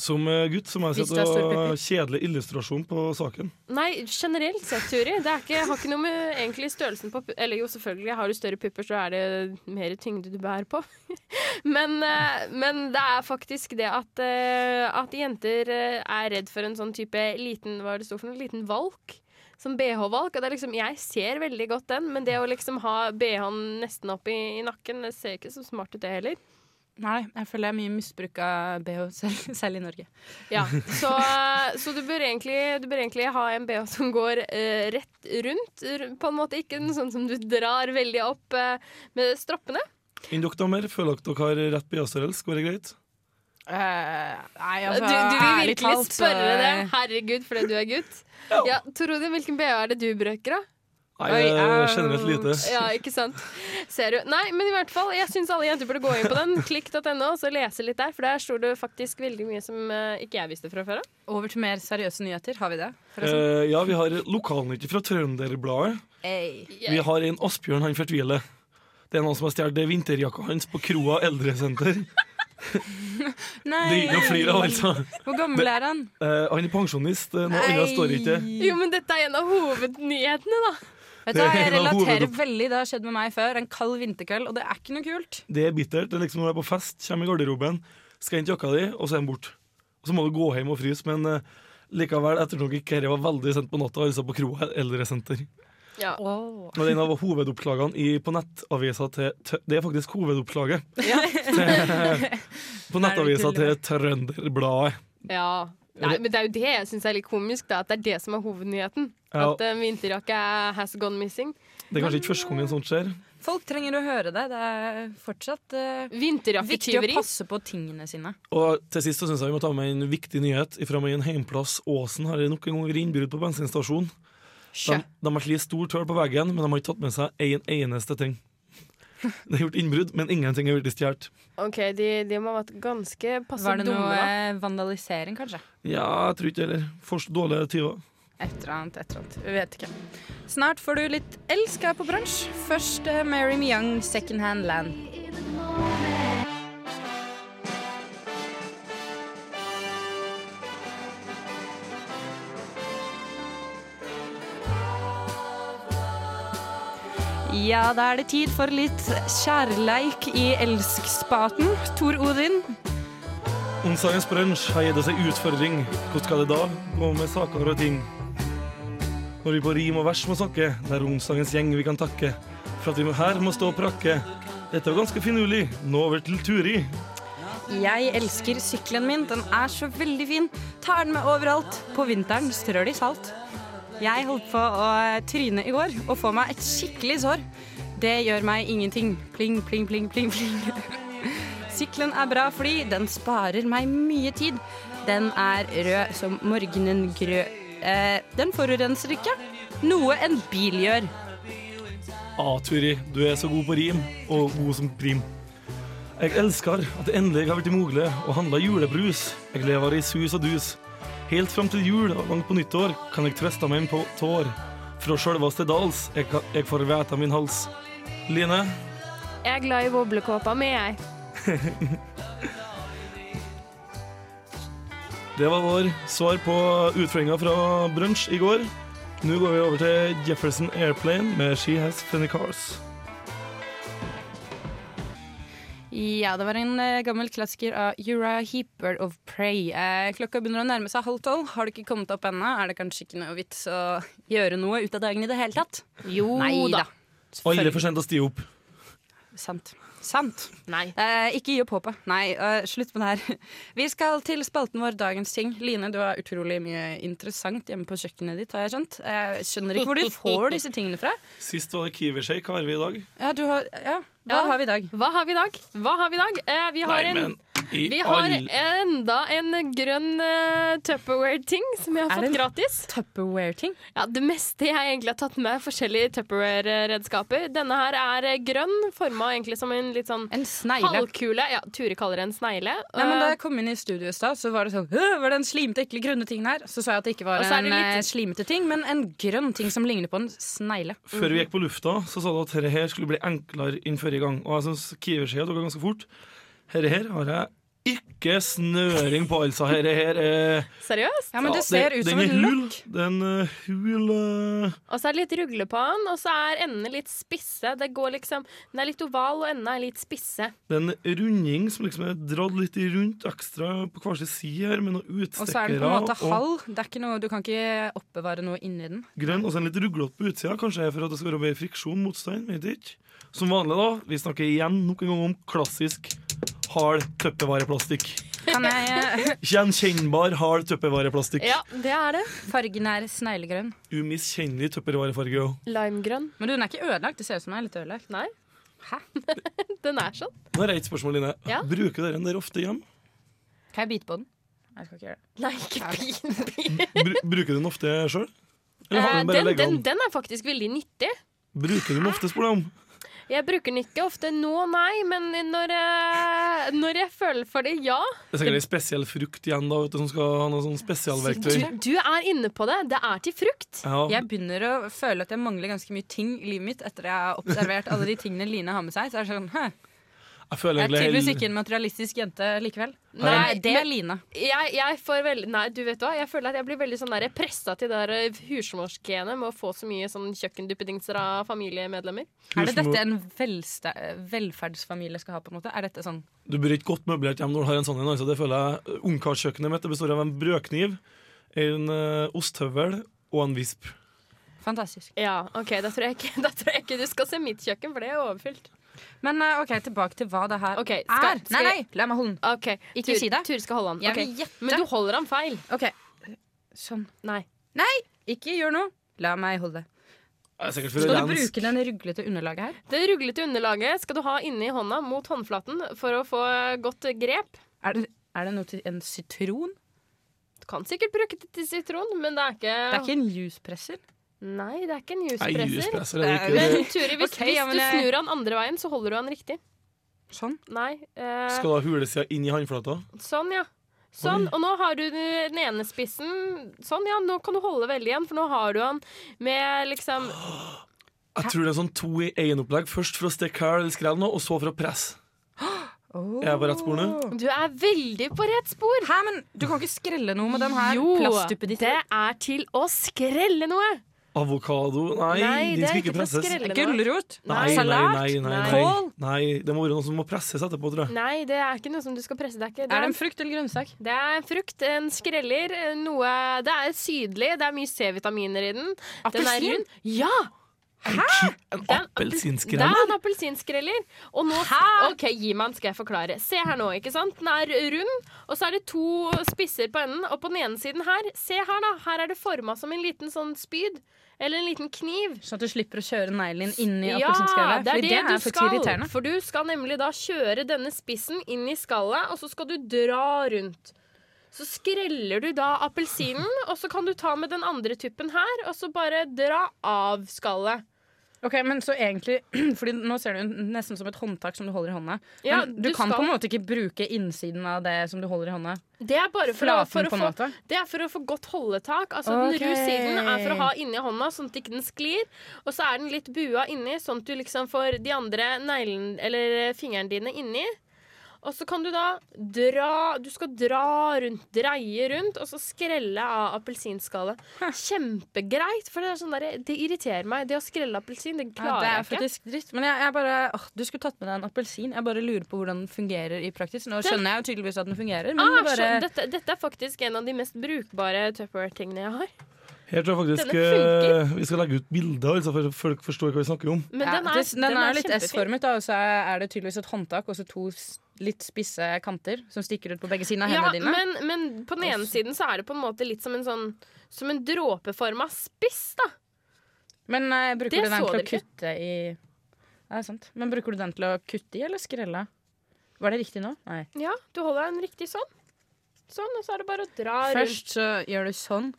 Som eh, gutt så må jeg
Hvis
si
det er
at det
stor
var
pupil.
kjedelig illustrasjon på saken.
Nei, generelt sett, Turi. Det er ikke, har ikke noe med egentlig størrelsen på pu- Eller jo, selvfølgelig, har du større pupper, så er det mer tyngde du bærer på. men, eh, men det er faktisk det at, eh, at jenter eh, er redd for en sånn type liten Hva er det stod for noe? Liten valk. Som BH-valk. Og det er liksom, jeg ser veldig godt den, men det å liksom ha BH-en nesten opp i, i nakken, det ser ikke så smart ut, det heller.
Nei, jeg føler jeg er mye misbruk av BH, selv, selv i Norge.
Ja, så, så du, bør egentlig, du bør egentlig ha en BH som går eh, rett rundt, ru- på en måte. Ikke en sånn som du drar veldig opp eh, med stroppene.
Enn dere damer, føler dere dere har rett BH-størrelse? Går det greit?
nei,
Du,
altså,
du vil
ærlig
virkelig
talt, så- eh,
spørre det. Herregud, fordi du er gutt. Ja, Torode, hvilken BH er det du bruker, da?
Nei,
Oi,
eh, generelt lite.
Ja, ikke sant? Ser du? Nei, men i hvert fall, jeg syns alle jenter burde gå inn på den. Klikk.no, så lese litt der, for der står det faktisk veldig mye som eh, ikke jeg visste fra før av.
Over til mer seriøse nyheter. Har vi det? forresten?
Eh, ja, vi har lokalnytt fra Trønderbladet. Vi har en Asbjørn han fortviler. Det er noen som har stjålet vinterjakka hans på Kroa eldresenter. Det er ikke noe flir av, altså.
Hvor gammel er han?
Eh, han er pensjonist. eh, Noe annet står det ikke.
Jo, men dette er en av hovednyhetene, da.
Vet du, hva, jeg
Det er en av
relaterer
hoved-
veldig. Det har skjedd med meg før. En kald vinterkveld, og det er ikke noe kult.
Det er bittert. Det er liksom når du er på fest, kommer i garderoben, skal hente jakka di, og så er den borte. Og så må du gå hjem og fryse, men eh, likevel, ettersom ikke dette var veldig sent på natta, altså på Kroa eldresenter.
Ja.
Og det er en av hovedoppslagene i, på nettavisa til Tø- Det er faktisk hovedoppslaget. på nettavisa til Trønderbladet.
Ja. Nei, men det er jo det jeg syns er litt komisk, da, at det er det som er hovednyheten.
Ja.
At en vinterjakke er- has gone missing.
Det er kanskje ikke første gangen sånt skjer.
Folk trenger å høre det. Det er fortsatt eh, viktig å
Vinterjakketyveri.
passe på tingene sine.
Og til sist så syns jeg vi må ta med en viktig nyhet fra min heimplass Åsen. Har det nok en gang vært innbrudd på bensinstasjonen. De, de har slitt stor tøl på veggen, men de har ikke tatt med seg en eneste ting. Det er gjort innbrudd, men ingenting er blitt stjålet.
OK, de, de må ha vært ganske passe
Var det
dumme.
noe
da.
eh, vandalisering, kanskje?
Ja, jeg tror ikke det heller. For dårlige tyver.
Et eller annet, et eller annet. Vi vet ikke. Snart får du litt elsk her på bransj. Først eh, Mary Me Young, Second Hand Land. Ja, da er det tid for litt kjærleik i elskspaten. Tor Odin,
Onsdagens brunsj har gitt oss en utfordring. Hvordan skal det da gå med saker og ting? Når vi på rim og vers må snakke, det er onsdagens gjeng vi kan takke. For at vi her må stå og prakke. Dette var ganske finurlig. Nå over til Turi.
Jeg elsker sykkelen min, den er så veldig fin. Tar den med overalt. På vinteren strør de salt. Jeg holdt på å tryne i går og få meg et skikkelig sår. Det gjør meg ingenting. Pling, pling, pling, pling, pling. Sykkelen er bra fordi den sparer meg mye tid. Den er rød som morgenen grø. Eh, den forurenser ikke. Noe en bil gjør.
Ah, Turi, du er så god på rim, og god som prim. Jeg elsker at det endelig har vært mulig å handle julebrus. Jeg lever i sus og dus. Helt fram til jul og langt på nyttår kan jeg trøste meg på tår. Fra sjølvaste dals jeg, kan- jeg får veta min hals. Line,
Jeg er glad i boblekåpa mi, jeg.
det var vår svar på utfordringa fra brunsj i går. Nå går vi over til Jefferson Airplane med She Has Funny Cars.
Ja, det var en eh, gammel klassiker av Uriah Heep, Bird of Prey. Eh, klokka begynner å nærme seg halv tolv. Har du ikke kommet opp ennå, er det kanskje ikke noe vits å gjøre noe ut av dagen i det hele tatt?
Jo
Neida.
Aldri for sent å sti opp.
Sant. Sant.
Nei.
Eh, ikke gi opp håpet. Nei, eh, slutt med det her. Vi skal til spalten vår Dagens ting. Line, du har utrolig mye interessant hjemme på kjøkkenet ditt, har jeg skjønt. Jeg skjønner ikke hvor du får disse tingene fra.
Sist var det Kiwi-shake. Hva har vi i dag?
Ja, du har, ja. Hva
Ja.
har vi i dag?
Hva har vi i dag? Hva har vi i dag? Eh, vi har
Nei,
en
men I
Vi har
all-
enda en grønn eh, Tupperware-ting som jeg har
Er
fått
det-
gratis.
Tupperware-ting.
Ja, Det meste jeg egentlig har tatt med, er forskjellige Tupperware-redskaper. Denne her er eh, grønn, forma egentlig som en litt sånn
En snegle.
halvkule. Ja, Ture kaller det en snegle.
Nei, men
Eh,
da jeg kom inn i studio i stad, så var det sånn «Åh, Var det en slimete, ekle, grønne ting her? Så sa jeg at det ikke var
Og så
en
er det
eh,
litt-
slimete ting, men en grønn ting som ligner på en snegle.
Før vi gikk på lufta, så sa du at dette her skulle bli enklere enn forrige gang. Og jeg syns Kiverskjea dukka ganske fort. Dette her har jeg ikke snøring på, altså. Dette her er
Seriøst?
Ja, men
Ja,
det ser ut som
den
en
er hul.
lokk.
Det er en eh, hul eh,
Og så er det litt rugle på den, og så er endene litt spisse. Det går liksom, Den er litt oval, og endene er litt spisse.
Det er en runding som liksom er dratt litt rundt ekstra på hver sin side her, med noen
Og så er den
utstikkere
på en måte
og
halv. Det er ikke noe, du kan ikke oppbevare noe inni den.
grønn. Og så er den litt ruglete på utsida, kanskje for at det skal være mer friksjon, motstand. Vet ikke. Som vanlig, da. Vi snakker igjen nok en gang om klassisk hard tøppevareplastikk.
Kan jeg eh,
Gjenkjennbar hard tøppevareplastikk.
Ja, det er det.
Fargen er sneglegrønn.
Umiskjennelig tøppervarefarge. også.
Limegrønn.
Men du, den er ikke ødelagt. Det ser ut som den er litt ødelagt.
Nei.
Hæ?
Den er sånn.
Nå har jeg et spørsmål, Line.
Ja?
Bruker dere den der ofte hjem?
Kan jeg bite på den? Jeg skal ikke gjøre det.
Nei, ikke pin, pin.
Bru bruker du den ofte sjøl? Eller har du
Eh,
den bare
Den, den,
liggende?
den er faktisk veldig nyttig.
Bruker du den ofte, spør jeg om?
Jeg bruker den ikke ofte nå, nei, men når, eh, når jeg føler for det, ja.
Det er sikkert ei spesiell frukt igjen, da, vet du, som skal ha noe sånn
Du,
spesialverktøy.
du er inne på det. Det er til frukt.
Ja.
Jeg begynner å føle at jeg mangler ganske mye ting i livet mitt etter jeg har observert alle de tingene Line har med seg. Så er det sånn, «Hæ,
Jeg føler
Jeg er tydeligvis
egentlig
ikke en materialistisk jente likevel.
Nei,
Nei, det
men-
er Line.
Jeg, jeg får veldig Nei, du vet hva, jeg føler at jeg blir veldig sånn pressa til det der husmorsgenet med å få så mye sånn kjøkkenduppedingser av familiemedlemmer.
Er det
Husmor-
dette en velsta- velferdsfamilie skal ha? på en måte? Er dette sånn?
Du blir ikke godt møblert hjem når du har en sånn en. Altså. Det føler jeg Ungkarskjøkkenet mitt det består av en brødkniv, en eh, osthøvel og en visp.
Fantastisk.
Ja, OK, da tror jeg ikke, da tror jeg ikke du skal se mitt kjøkken, for det er overfylt.
Men eh, ok, tilbake til hva det her
Ok, skal-
er.
skal
nei, nei,
jeg-
la meg holde den.
Ok,
Ikke
Tur-
si det.
Tur skal holde han.
Jeg
Ok.
vil gjette.
Men du holder han feil.
Ok, Sånn.
Nei.
Ikke gjør noe. La meg holde det.
Det er sikkert for
Skal du
rens.
bruke den ruglete underlaget her?
Det ruglete underlaget skal du ha inni hånda mot håndflaten for å få godt grep.
Er det, er det noe til en sitron?
Du kan sikkert bruke det til sitron, men det er ikke,
Det er ikke en juicepresser.
Nei, det er ikke en
Nei,
juspresser.
juspresser er det ikke.
Men
Det-
Turi, hvis,
Ok,
hvis
ja, men
du
jeg-
snur han andre veien, så holder du han riktig.
Sånn.
Nei. eh,
Skal du ha hulesida inn i håndflata?
Sånn, ja. Sånn, og nå har du den ene spissen. Sånn, ja, nå kan du holde veldig igjen, for nå har du han med liksom
Jeg tror det er sånn to i én-opplegg. Først for å stikke hæl eller skrell noe, og så for å presse. Er jeg på rett spor nå?
Du er veldig på rett spor!
Hæ, men du kan ikke skrelle noe med den her
Jo, det
plastduppeditten?
er til å skrelle noe!
Avokado? Nei,
Nei,
den
det er
skal
ikke
ikke
for å
presses.
skrelle noe.
Gulrot?
Nei, nei,
Salat?
nei, nei, nei.
Kål?
Nei, det må være noe som må presses etterpå, tror jeg.
Nei, det er ikke noe som du skal presse. Det er, ikke, det
Er
er,
det en frukt eller grønnsak?
det er en frukt, en skreller, noe Det er sydlig, det er mye C-vitaminer i den. Den er
Appelsin?
rund. Ja!
En
Det er en Det
appelsinskrell?
er en appelsinskreller. Og nå OK, gi meg den, skal jeg forklare. Se her nå, ikke sant. Den er rund, og så er det to spisser på enden. Og på den ene siden her, se her, da. Her er det forma som en liten sånn spyd. Eller en liten kniv.
Sånn at du slipper å kjøre neglen din inni
Ja,
appelsinskallet?
det er
fordi
det,
det
du
er faktisk
skal.
irriterende.
For du skal nemlig da kjøre denne spissen inn i skallet, og så skal du dra rundt. Så skreller du da appelsinen, og så kan du ta med den andre tuppen her, og så bare dra av skallet.
Ok, men så egentlig Fordi nå ser det jo nesten som et håndtak som du holder i hånda.
Ja,
men du,
du
kan
skal-
på en måte ikke bruke innsiden av det som du holder i hånda.
Det er bare for, å,
Flaten,
for, å
på en
få,
måte.
det er for å få godt holdetak. Altså
Ok.
Den russiden er for å ha inni hånda, sånn at ikke den sklir. Og så er den litt bua inni, sånn at du liksom får de andre neglen, eller fingrene dine inni. Og så kan du da dra Du skal dra rundt, dreie rundt, og så skrelle av appelsinskallet. Kjempegreit, for det er sånn der, det irriterer meg. Det å skrelle appelsin, det
Ja, det
klarer
er
jeg ikke.
faktisk dritt. Men jeg, jeg bare åh, Du skulle tatt med deg en appelsin. Jeg bare lurer på hvordan den fungerer i praksis. Nå
Den-
skjønner jeg jo tydeligvis at den fungerer, men
Ah,
det bare
så, dette, dette er faktisk en av de mest brukbare Tupperware-tingene jeg har.
Her tror jeg faktisk
Denne funker.
eh, vi skal legge ut bilder, altså, for at folk forstår hva vi snakker om.
Men
ja,
den er,
det- den er litt
kjempefin.
S-formet, da, og så er det tydeligvis et håndtak og så to s- litt spisse kanter som stikker ut på begge sider av
Ja,
hendene dine.
men, men på den ene siden så er det på en måte litt som en sånn Som en dråpeforma spiss, da.
Men eh,
Det
bruker du den
så
til å
dere ikke.
kutte i Ja, Det er sant. Men bruker du den til å kutte i eller skrelle? Var det riktig nå? Nei.
Ja, du holder den riktig sånn. Sånn, og så er det bare å dra rundt.
Først så gjør du sånn.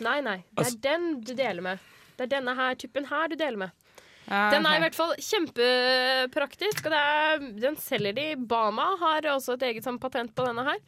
Nei, nei. Det er
Altså-
den du deler med. Det er denne her typen her du deler med.
Ja,
Den er i
Ah, ok.
hvert fall kjempepraktisk, og det er, den selger de. Bama har også et eget sånn patent på denne her.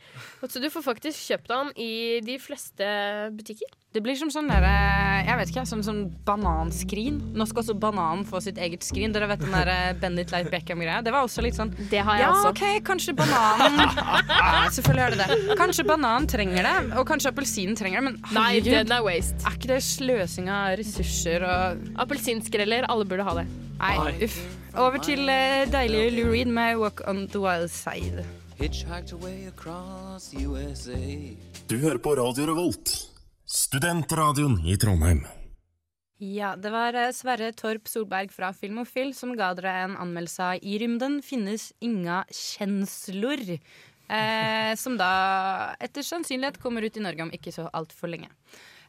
Og Så du får faktisk kjøpt den i de fleste butikker.
Det blir som sånn derre Jeg vet ikke, som sånn bananskrin. Nå skal også bananen få sitt eget skrin. Dere vet den derre Bennett Light Beckham-greia? Det var også litt sånn
Det har
ja, OK, kanskje bananen ja, Selvfølgelig er det det. Kanskje bananen trenger det, og kanskje appelsinen trenger det, men
Nei,
herregud,
den er waste.
er ikke det sløsing av ressurser og
Appelsinskreller, alle burde ha det.
Nei, uff. Over til eh, deilige Lou Reed med 'Walk on the Wild Side'.
Du hører på Radio Revolt, studentradioen i Trondheim.
Ja, det var eh, Sverre Torp Solberg fra Filmofil som ga dere en anmeldelse av 'I rymden finnes inga kjenslor'. Eh, som da etter sannsynlighet kommer ut i Norge om ikke så altfor lenge.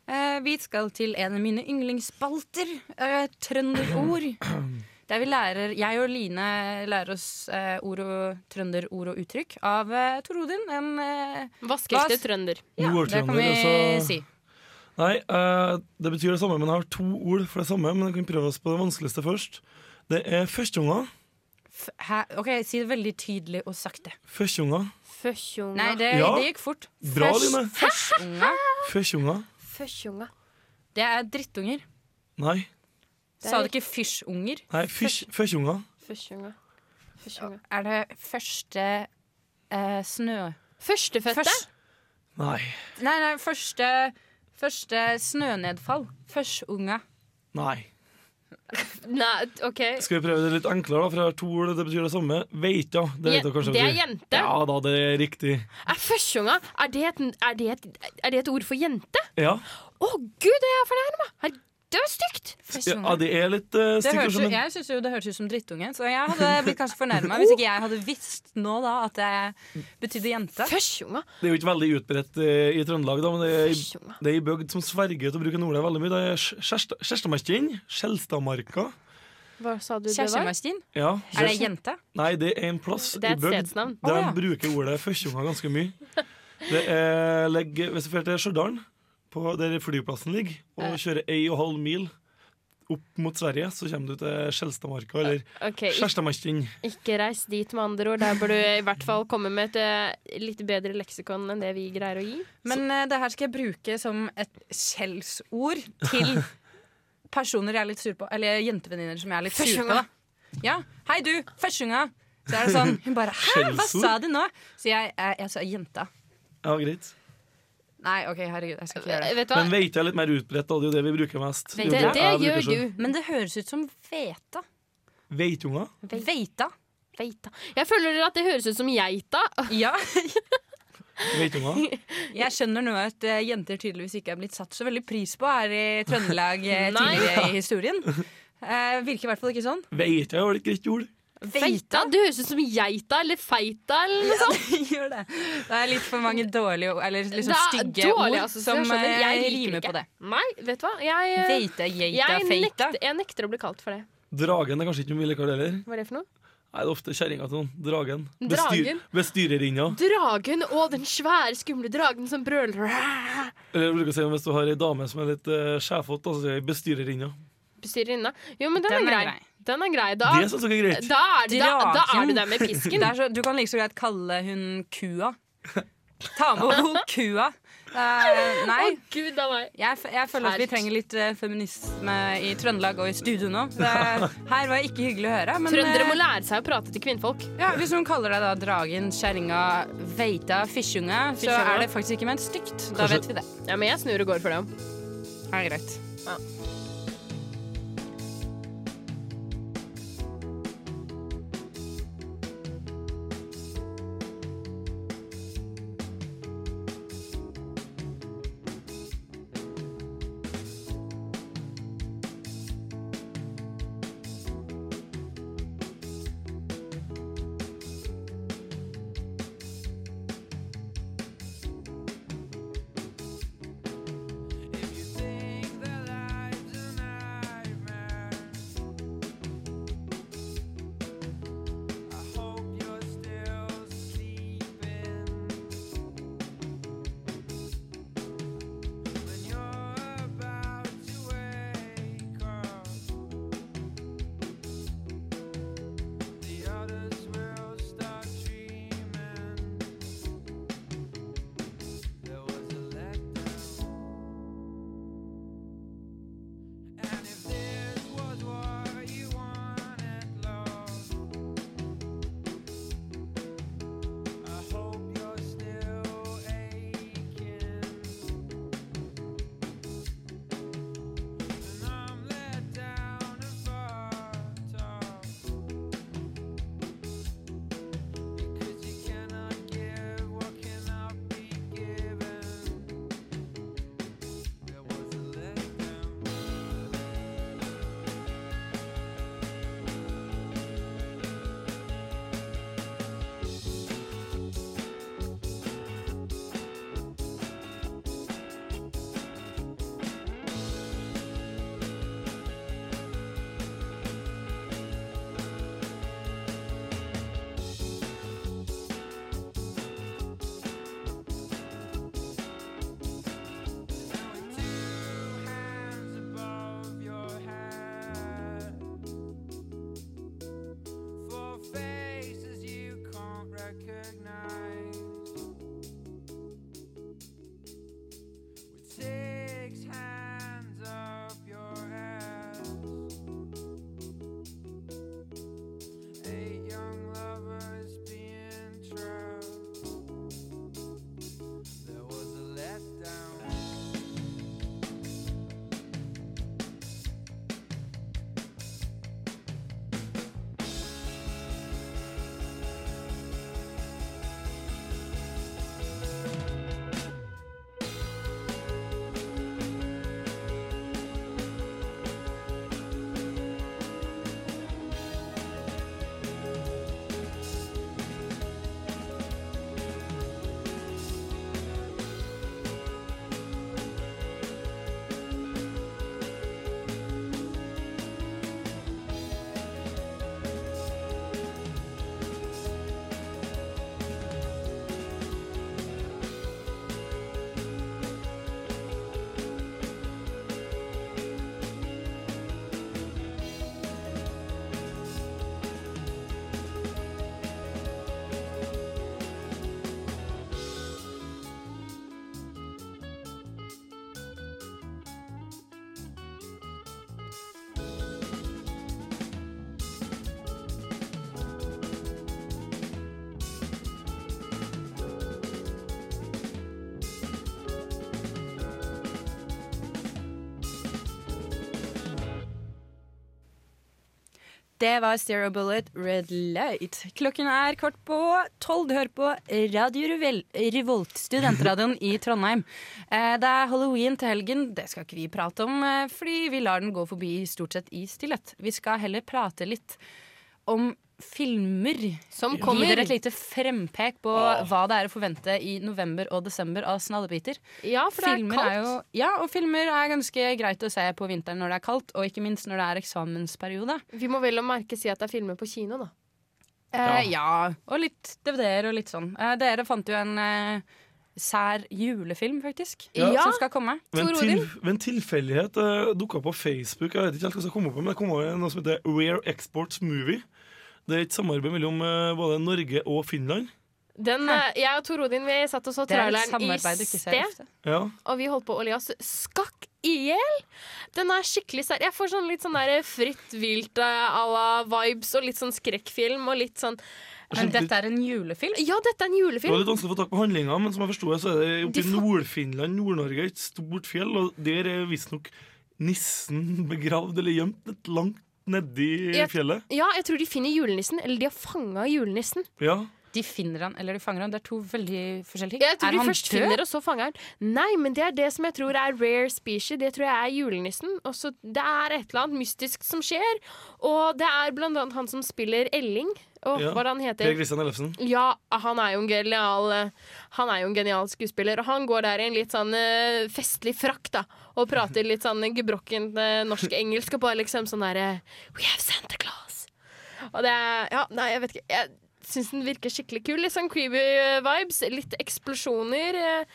Eh, vi skal til en av mine yndlingsspalter, eh, trønderord. Der vi lærer, jeg og Line lærer oss eh, ord og trønderord og uttrykk av eh, Tor Odin. En, eh,
Vaskeekte
Vas-
trønder.
ja,
Nordtrønder,
det kan vi
altså.
si.
Nei, eh, det betyr det samme, men jeg har to ord for det samme. Men jeg kan prøve oss på det vanskeligste først. Det er førsteunger.
F hæ? OK, si det veldig tydelig og sakte. Nei,
Førsteunger.
Førstunga.
det,
Ja.
det gikk fort.
Bra, Line.
Førstunga.
Førsteunger.
Førstunga.
Det er drittunger.
Nei.
Det er
Sa du ikke fysjunger?
Nei, fysj- førsteunger.
Førstunga. Førstunga.
Er det første eh, snø...
Førstefødte?
Først-
Nei.
Nei, nei, første, første snønedfall. Førstunga.
Nei.
Nei, OK.
Skal vi prøve det litt enklere, da? For jeg har to ord, og det betyr det samme. Veita. Det vet dere kanskje.
det
hva
er
betyr.
jente.
Ja da, det er riktig.
Er førstunga er det, et, er, det et, er det et ord for jente?
Ja.
Å gud, det er fornærma! Her- Det var stygt!
Ja,
Førstunga.
det er litt uh,
Det
stygt.
høres, jo-
men-
jeg syns jo det hørtes ut som drittunge, så jeg hadde blitt kanskje fornærma hvis ikke jeg hadde visst nå da at det betydde jente.
Førstunga.
Det er jo ikke veldig utbredt eh, i Trøndelag, da, men det er,
Førstunga.
det er i bygd som sverger til å bruke nordet veldig mye. Det er Skjerst- Skjerstadmarken, Skjelstadmarka
Hva sa du det var?
Kjærestemastin.
ja,
Er det
Skjerst-
jente?
Nei, det er en plass
Det er et
i bygd der
stedsnavn.
Å,
de
ja.
bruker ordet førsteunger ganske mye. Det er, legg, hvis du drar til Stjørdal, på der flyplassen ligger, og kjører ei og halv mil opp mot Sverige, så kommer du til Skjelstadmarka eller
Ok, ik-
Skjerstadmarken.
Ikke reis dit, med andre ord. Der bør du i hvert fall komme med et eh, litt bedre leksikon enn det vi greier å gi.
Men eh, det her skal jeg bruke som et skjellsord til personer jeg er litt sur på. Eller jentevenninner som jeg er litt sur på.
Førstunga.
da. Ja. Hei, du! Førstunga! Så er det sånn Hun bare Hæ, hva
Skjellsord?
sa du nå? Så jeg, jeg, jeg sa jenta.
Ja, greit.
Nei, OK, herregud, jeg skal ikke gjøre
Eh,
det.
Vet du hva?
Men veite er litt mer utbredt, da. Det er jo det vi bruker mest. er jo
Det, det sånn.
jeg bruker
gjør
selv.
du.
Men det høres ut som veta.
Veitunger?
Veita.
Veita. Jeg føler at det høres ut som geita.
Ja.
Veitunger?
Jeg skjønner nå at eh, jenter tydeligvis ikke er blitt satt så veldig pris på her i Trøndelag eh,
Nei.
tidligere i historien. Eh, virker i hvert fall ikke sånn.
Veita er vel et greit ord?
Feita? Det høres ut som geita eller feita eller noe sånt.
Ja, det gjør det. Det er litt for mange dårlige ord, eller liksom
Det er
stygge
dårlig
ord, som eh,
assosiasjon, skjønner. Jeg liker
rimer
ikke.
på det.
Nei, vet du hva? Jeg, eh,
Veita, geita,
jeg,
feita.
nekter, jeg nekter å bli kalt for det.
Dragen er kanskje ikke noe vi liker det heller.
Hva er det for noe?
Nei, det er ofte kjerringa til noen. Dragen.
Dragen?
bestyrerinna.
Dragen og den svære, skumle dragen som brøler.
Eller jeg bruker å si hvis du har ei dame som er litt uh, sjefete, så sier jeg bestyrerinna.
Bestyrerinna. Jo, men den,
Den
er,
er
grei.
grei.
Den er grei. Da,
Det syns jeg er greit.
da, er, da, da er
Dragen.
du der med pisken.
Det er så, du kan like så greit kalle hun kua. Ta med henne kua. Eh,
Å,
nei.
gud a meg.
Jeg, f- jeg føler at vi
Sterkt.
trenger litt eh, feminisme i Trøndelag og i studio nå. Det, her var ikke hyggelig å høre. Men
Trøndere
eh,
må lære seg å prate til kvinnfolk.
ja, hvis hun kaller deg da dragen, kjerringa, veita, fysjunge, så
Fysjunge.
er det faktisk ikke ment stygt. Da
Kanskje-
vet vi det.
Ja, men jeg snur og går for det.
Det er greit.
If you think that life's
Det var Stereo Bullet Red Light. Klokken er kvart på tolv. Du hører på Radio Revel Revolt, studentradioen i Trondheim. Eh, Det er halloween til helgen. Det skal ikke vi prate om, eh, fordi vi lar den gå forbi stort sett i stillhet. Vi skal heller prate litt om filmer.
Som
Gi
kommer.
dere et lite frempek på hva det er å forvente i november og desember av Snadebiter.
Ja, for det er
Filmer
kaldt.
jo, ja, og filmer er ganske greit å se på vinteren når det er kaldt, og ikke minst når det er eksamensperiode.
Vi må vel og merke si at det er filmer på kino, da.
Eh, ja, og litt DVD-er og litt sånn. Eh, dere fant jo en eh, sær julefilm, faktisk,
Ja.
som skal komme.
Ved en,
Tor
til,
Odin?
ved en tilfeldighet uh, dukka på Facebook Jeg vet ikke helt hva jeg kom opp med, men det kom over noe som heter Rare Exports Movie. Det er et samarbeid mellom eh, både Norge og Finland.
Den, eh, jeg og Tor Odin vi satt og så
Det er et
traileren i
samarbeid du ikke ser
sted.
ofte.
Ja.
og vi holdt på å le oss skakk i hjel. Den er skikkelig sær. Jeg får sånn litt sånn der fritt vilt eh, à la vibes og litt sånn skrekkfilm og litt sånn
Men dette er en julefilm?
Ja, dette er en
Det var
julefilm!
litt vanskelig å få tak på handlinga, men som jeg forsto det, så er det oppe
De
i
fa-
Nord-Finland, Nord-Norge, et stort fjell, og der er visstnok nissen begravd eller gjemt litt langt nedi
Jeg-
fjellet.
Ja, jeg tror de finner julenissen, eller de har fanga julenissen.
Ja.
De finner han, eller de fanger han. Det er to veldig forskjellige ting.
Jeg tror
er
de
han
først finner, og så fanger han. Nei, men det er det som jeg tror er rare species. Det tror jeg er julenissen. Og så det er et eller annet mystisk som skjer. Og det er blant annet han som spiller Elling. Og
Ja.
hva er det han
Per
heter?
Christian Ellefsen.
Ja, han er jo en genial eh, Han er jo en genial skuespiller. Og han går der i en litt sånn eh, festlig frakk, da. Og prater litt sånn gebrokkent eh, norsk-engelsk og bare liksom sånn derre We have Santa Claus. Og det er Ja, nei, jeg vet ikke. Jeg syns den virker skikkelig kul. Litt sånn creepy eh, vibes. Litt eksplosjoner. eh,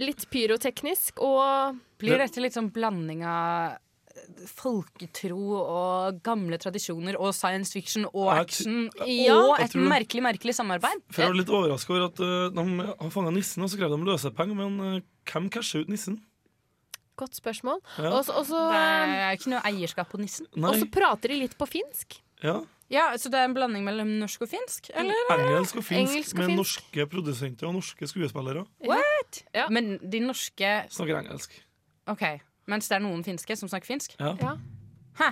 Litt pyroteknisk og
Blir dette litt sånn blanding av eh, folketro og gamle tradisjoner og science fiction og
Jeg
action
Ja.
og
Jeg
et
tror-
merkelig, merkelig samarbeid?
For jeg var litt overraska over at eh, de har fanga nissen, og så krevde de løsepenger, men eh, hvem casha ut nissen?
Godt spørsmål.
Ja.
Og så- og så
Det
eh,
er ikke noe eierskap på nissen.
og
Nei.
så prater de litt på finsk.
Ja.
Ja, Så det er en blanding mellom norsk og finsk? Eller?
Engelsk og finsk
Engelsk og
med
finsk.
norske produsenter og norske skuespillere.
Ja.
Men de norske
Snakker engelsk.
Ok, Mens det er noen finske som snakker finsk?
Ja.
Ja.
Hæ.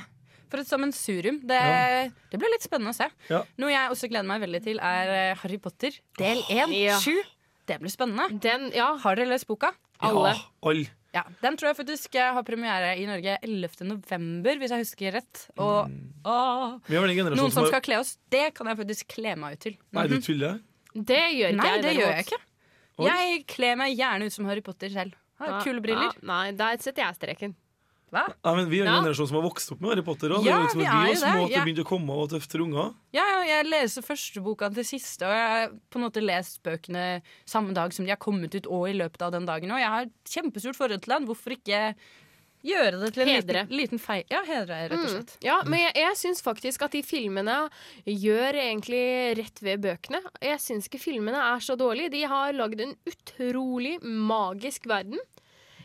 For et sammensurium. Det, det blir litt spennende å se.
Ja.
Noe jeg også gleder meg veldig til, er eh, Harry Potter del 1.
Ja.
7. Det blir spennende.
Den, ja,
Har dere lest boka?
alle.
Ja, alle.
Ja, Den tror jeg faktisk eh, har premiere i Norge 11. november, hvis jeg husker rett. Og åh,
Vi er vel den
noen
generasjonen
som
har-
skal kle oss, det kan jeg faktisk kle meg ut til.
Nei,
Mhm.
du tuller?
Det gjør ikke
Nei,
jeg.
det gjør jeg
derimot.
ikke.
Oi.
Jeg kler meg gjerne ut som Harry Potter selv. Har
Ja,
kule briller.
Ja, nei, der setter jeg streken.
Hva?
Nei, men Vi er en
Ja.
generasjon som har vokst opp med Harry Potter.
Ja,
Og det er liksom
vi
at
er
vi
jo
var små
det,
at det
ja.
begynte å komme og var tøft for unger.
Ja, ja, jeg leser første boka til siste, og jeg har på en måte lest bøkene samme dag som de har kommet ut, og i løpet av den dagen. Og jeg har et kjempestort forhold til den. Hvorfor ikke gjøre det til en
Hedre. Mm.
liten, liten feil? Ja, hedre, rett og slett.
Ja, men jeg, jeg syns faktisk at de filmene gjør egentlig rett ved bøkene. Jeg syns ikke filmene er så dårlige. De har lagd en utrolig magisk verden.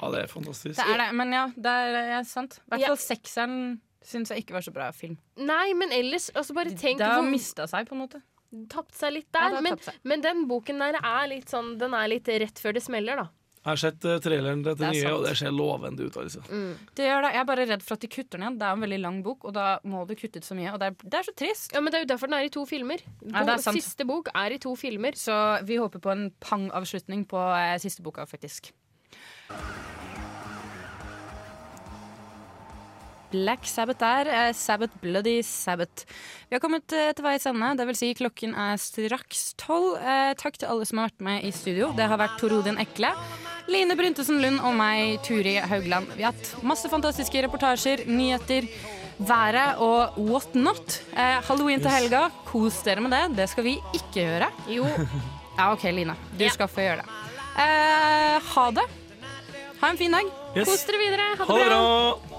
Ja, det er fantastisk.
Det er det, men ja, det er, ja, sant. I hvert
Ja.
fall sekseren syns jeg ikke var så bra film.
Nei, men ellers altså Bare tenk
det har
hvor
mista seg, på en måte.
tapt seg litt
Ja,
der.
det har
men,
tapt seg.
men den boken der er litt sånn Den er litt rett før det smeller, da.
Jeg har sett eh, traileren til
Det
det
er
nye,
sant. Mm.
og det ser lovende ut. altså.
Det gjør det. Jeg er bare redd for at de kutter den igjen. Det er en veldig lang bok, og da må du kutte ut så mye. Og det er, det er så trist.
Ja, men Det er jo derfor den er i to filmer.
Ja, det er
Bo-
sant.
Siste bok er i to filmer.
Så vi håper på en pang-avslutning på eh, siste boka, faktisk. Black Sabbath der. eh, Sabbath, bloody Sabbath. Vi har kommet eh, til veis ende. Det vil si klokken er straks tolv. Eh, takk til alle som har vært med i studio. Det har vært Tor Odin Ekle, Line Bryntesen Lund og meg, Turi Haugland. Vi har hatt masse fantastiske reportasjer, nyheter, været og what not. Eh, Halloween til helga. Kos dere med det. Det skal vi ikke gjøre.
Jo,
Ja, OK, Line. Du skal få gjøre det. Eh, ha det. Ha en fin dag.
Yes.
kos dere videre. Ha det
Ha det
bra.
bra!